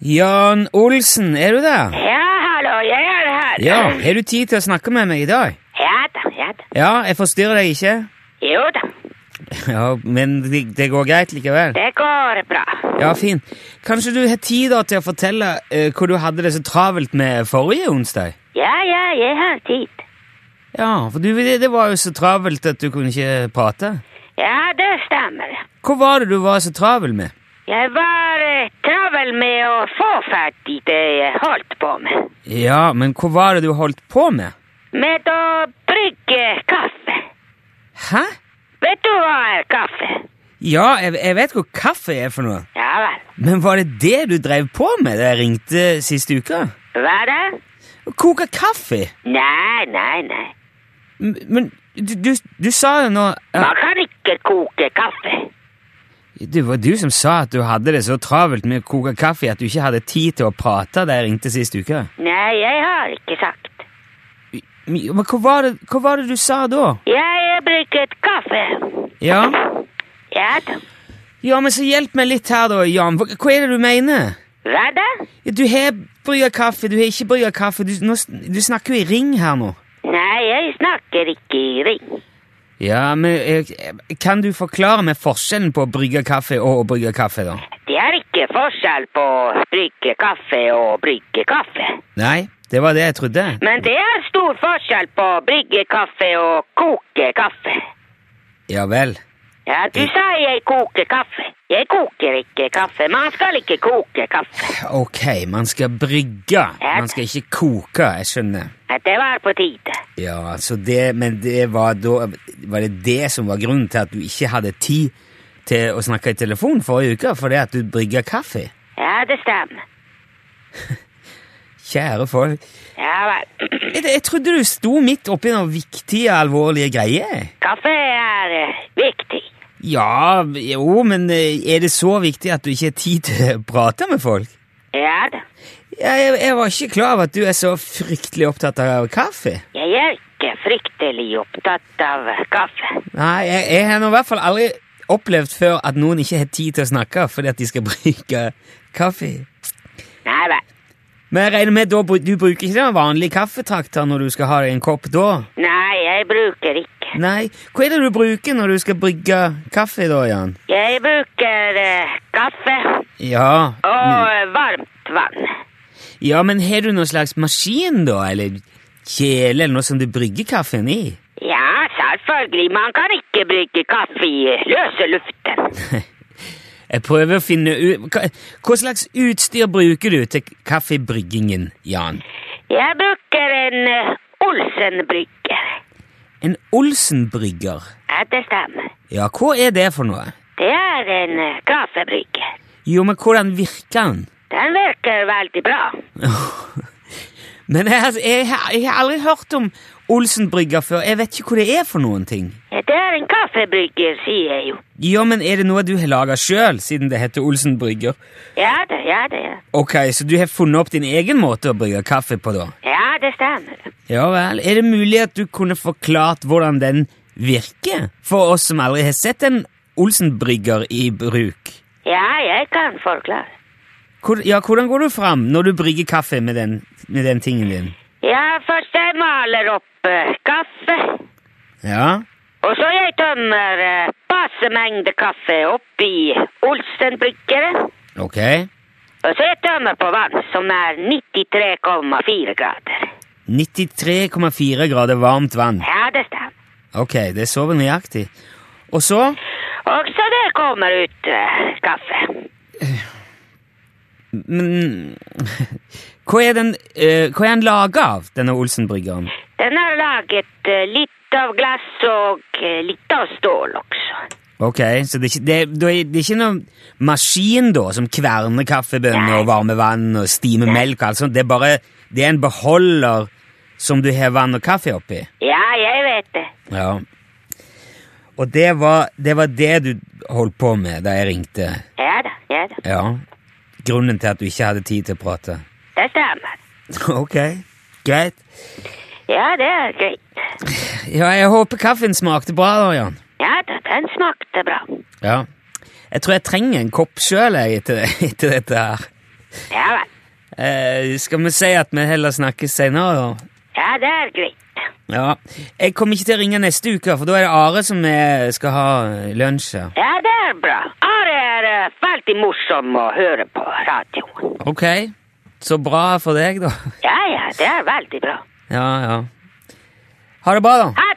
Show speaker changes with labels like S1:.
S1: Jan Olsen, er du der?
S2: Ja, hallo, jeg er her.
S1: Ja, har du tid til å snakke med meg i dag?
S2: Ja da, ja da.
S1: Ja, jeg forstyrrer deg ikke?
S2: Jo da,
S1: Ja, men det, det går greit likevel?
S2: det går bra.
S1: Ja, fint. Kanskje du har tid da til å fortelle eh, hva du hadde det så travelt med forrige onsdag?
S2: Ja, ja, jeg har tid.
S1: Ja, for du, det, det var jo så travelt at du kunne ikke prate.
S2: Ja, det stemmer.
S1: Hva var det du var så travel med?
S2: Jeg var eh, travel med å få ferdig det jeg holdt på med.
S1: Ja, men hva var det du holdt på med?
S2: Med å brygge kaffe.
S1: Hæ?
S2: Vet du hva er kaffe?
S1: Ja, jeg, jeg vet hva kaffe er for noe.
S2: Ja vel.
S1: Men var det det du drev på med da jeg ringte sist uke?
S2: Hva da?
S1: Å koke kaffe?
S2: Nei, nei, nei.
S1: M- Men du, du, du sa jo nå ja,
S2: Man kan ikke koke kaffe.
S1: Det var du som sa at du hadde det så travelt med å koke kaffe at du ikke hadde tid til å prate da jeg ringte sist uke.
S2: Nei, jeg har ikke sagt.
S1: Men hva var det, hva var det du sa da?
S2: Jeg brygget kaffe.
S1: Ja?
S2: Ja da.
S1: ja, men så hjelp meg litt her da, Jan. Hva, hva er det du mener?
S2: Hva da?
S1: Du har brygga kaffe, du har ikke brygga kaffe. Du, nå, sn- du snakker jo i ring her nå.
S2: Nei, jeg snakker ikke i ring.
S1: Ja, men eh, Kan du forklare meg forskjellen på å brygge kaffe og å brygge kaffe, da?
S2: Det er ikke forskjell på å brygge kaffe og brygge kaffe.
S1: Nei, det var det jeg trodde.
S2: Men det er stor forskjell på å brygge kaffe og koke kaffe.
S1: Ja vel.
S2: Ja, du sa jeg koker kaffe. Jeg koker ikke kaffe. Man skal ikke koke kaffe.
S1: Ok, man skal brygge. Man skal ikke koke, jeg skjønner.
S2: Ja, Det var på tide.
S1: Ja, så det, Men det var da Var det det som var grunnen til at du ikke hadde tid til å snakke i telefon forrige uke? Fordi at du brygga kaffe?
S2: Ja, det stemmer.
S1: Kjære folk.
S2: Ja vel.
S1: Jeg, jeg trodde du sto midt oppi noen viktige, alvorlige greier.
S2: Kaffe er eh, viktig.
S1: Ja, jo, men eh, er det så viktig at du ikke har tid til å prate med folk?
S2: Ja da.
S1: Ja, Jeg, jeg var ikke klar over at du er så fryktelig opptatt av kaffe.
S2: Jeg er ikke fryktelig opptatt av kaffe.
S1: Nei, jeg, jeg har nå i hvert fall aldri opplevd før at noen ikke har tid til å snakke fordi at de skal bruke kaffe.
S2: Nei vel.
S1: Men jeg regner med da, bru- du bruker ikke den vanlige kaffetrakter når du skal ha deg en kopp da?
S2: Nei, jeg bruker ikke.
S1: Nei, hva er det du bruker når du skal brygge kaffe da, Jan?
S2: Jeg bruker eh, kaffe
S1: Ja,
S2: og eh, varmt vann.
S1: ja men har du noen slags maskin da, eller kjele eller noe som du brygger kaffen i?
S2: Ja, selvfølgelig. Man kan ikke bruke kaffe i eh, løse luften.
S1: Jeg prøver å finne ut hva, hva slags utstyr bruker du til kaffebryggingen, Jan?
S2: Jeg bruker en eh, Olsen-brygger.
S1: En Olsen-brygger?
S2: Ja, det stemmer.
S1: Ja, hva er det for noe?
S2: Det er en eh, kaffebrygger.
S1: Jo, men hvordan virker den?
S2: Den virker veldig bra.
S1: Men jeg, jeg, har- jeg har aldri hørt om Olsen-brygger før. Jeg vet ikke hva det er for noen ting.
S2: Ja, Det er en kaffebrygger, sier jeg jo.
S1: Ja, men er det noe du har laga sjøl, siden det heter Olsen-brygger?
S2: Ja da, ja da, ja.
S1: Ok, så du har funnet opp din egen måte å brygge kaffe på, da?
S2: Ja, det stemmer.
S1: Ja vel. Er det mulig at du kunne forklart hvordan den virker? For oss som aldri har sett en Olsen-brygger i bruk.
S2: Ja, jeg kan forklare.
S1: Hvor, ja, hvordan går du fram når du brygger kaffe med den, med den tingen din?
S2: Ja, først jeg maler opp eh, kaffe,
S1: Ja?
S2: og så jeg tømmer eh, passe mengde kaffe opp i Olsen-bryggeren,
S1: Ok.
S2: og så jeg tømmer på vann, som er 93,4 grader.
S1: 93,4 grader varmt vann.
S2: Ja, det stemmer.
S1: Ok, det er så vel nøyaktig. Og så
S2: Og så der kommer ut eh, kaffe.
S1: Men hva er den, eh, hva er den laga av, denne Olsen-bryggeren?
S2: Den er laget eh, litt av glass og eh, litt av stål også.
S1: Ok, så det er, ikke, det, er- da er- det er ikke noen maskin da, som kverner kaffebønner og varmer vann og stimer melk og alt sånt. Det er bare det er en beholder som du har vann og kaffe oppi.
S2: Ja, jeg vet det.
S1: Ja. Og det var, det var det du holdt på med da jeg ringte.
S2: Ja da, ja da.
S1: Ja. Grunnen til at du ikke hadde tid til å prate.
S2: Det stemmer.
S1: Ok, greit.
S2: Ja, det er greit.
S1: Ja, jeg håper kaffen smakte bra da, Jan.
S2: Ja da, den smakte bra.
S1: Ja. Jeg tror jeg trenger en kopp sjøl etter, etter dette her.
S2: Ja vel.
S1: Eh, skal vi si at vi heller snakkes senere, da?
S2: Ja, det er greit.
S1: Ja. Jeg kommer ikke til å ringe neste uke, for da er det Are som eh, skal ha lunsj. her.
S2: Ja, det er bra. Are er eh, veldig morsom å høre på radio.
S1: Ok, så bra for deg, da.
S2: Ja, ja, det er veldig bra.
S1: Ja, ja. Ha det bra, da.
S2: Ha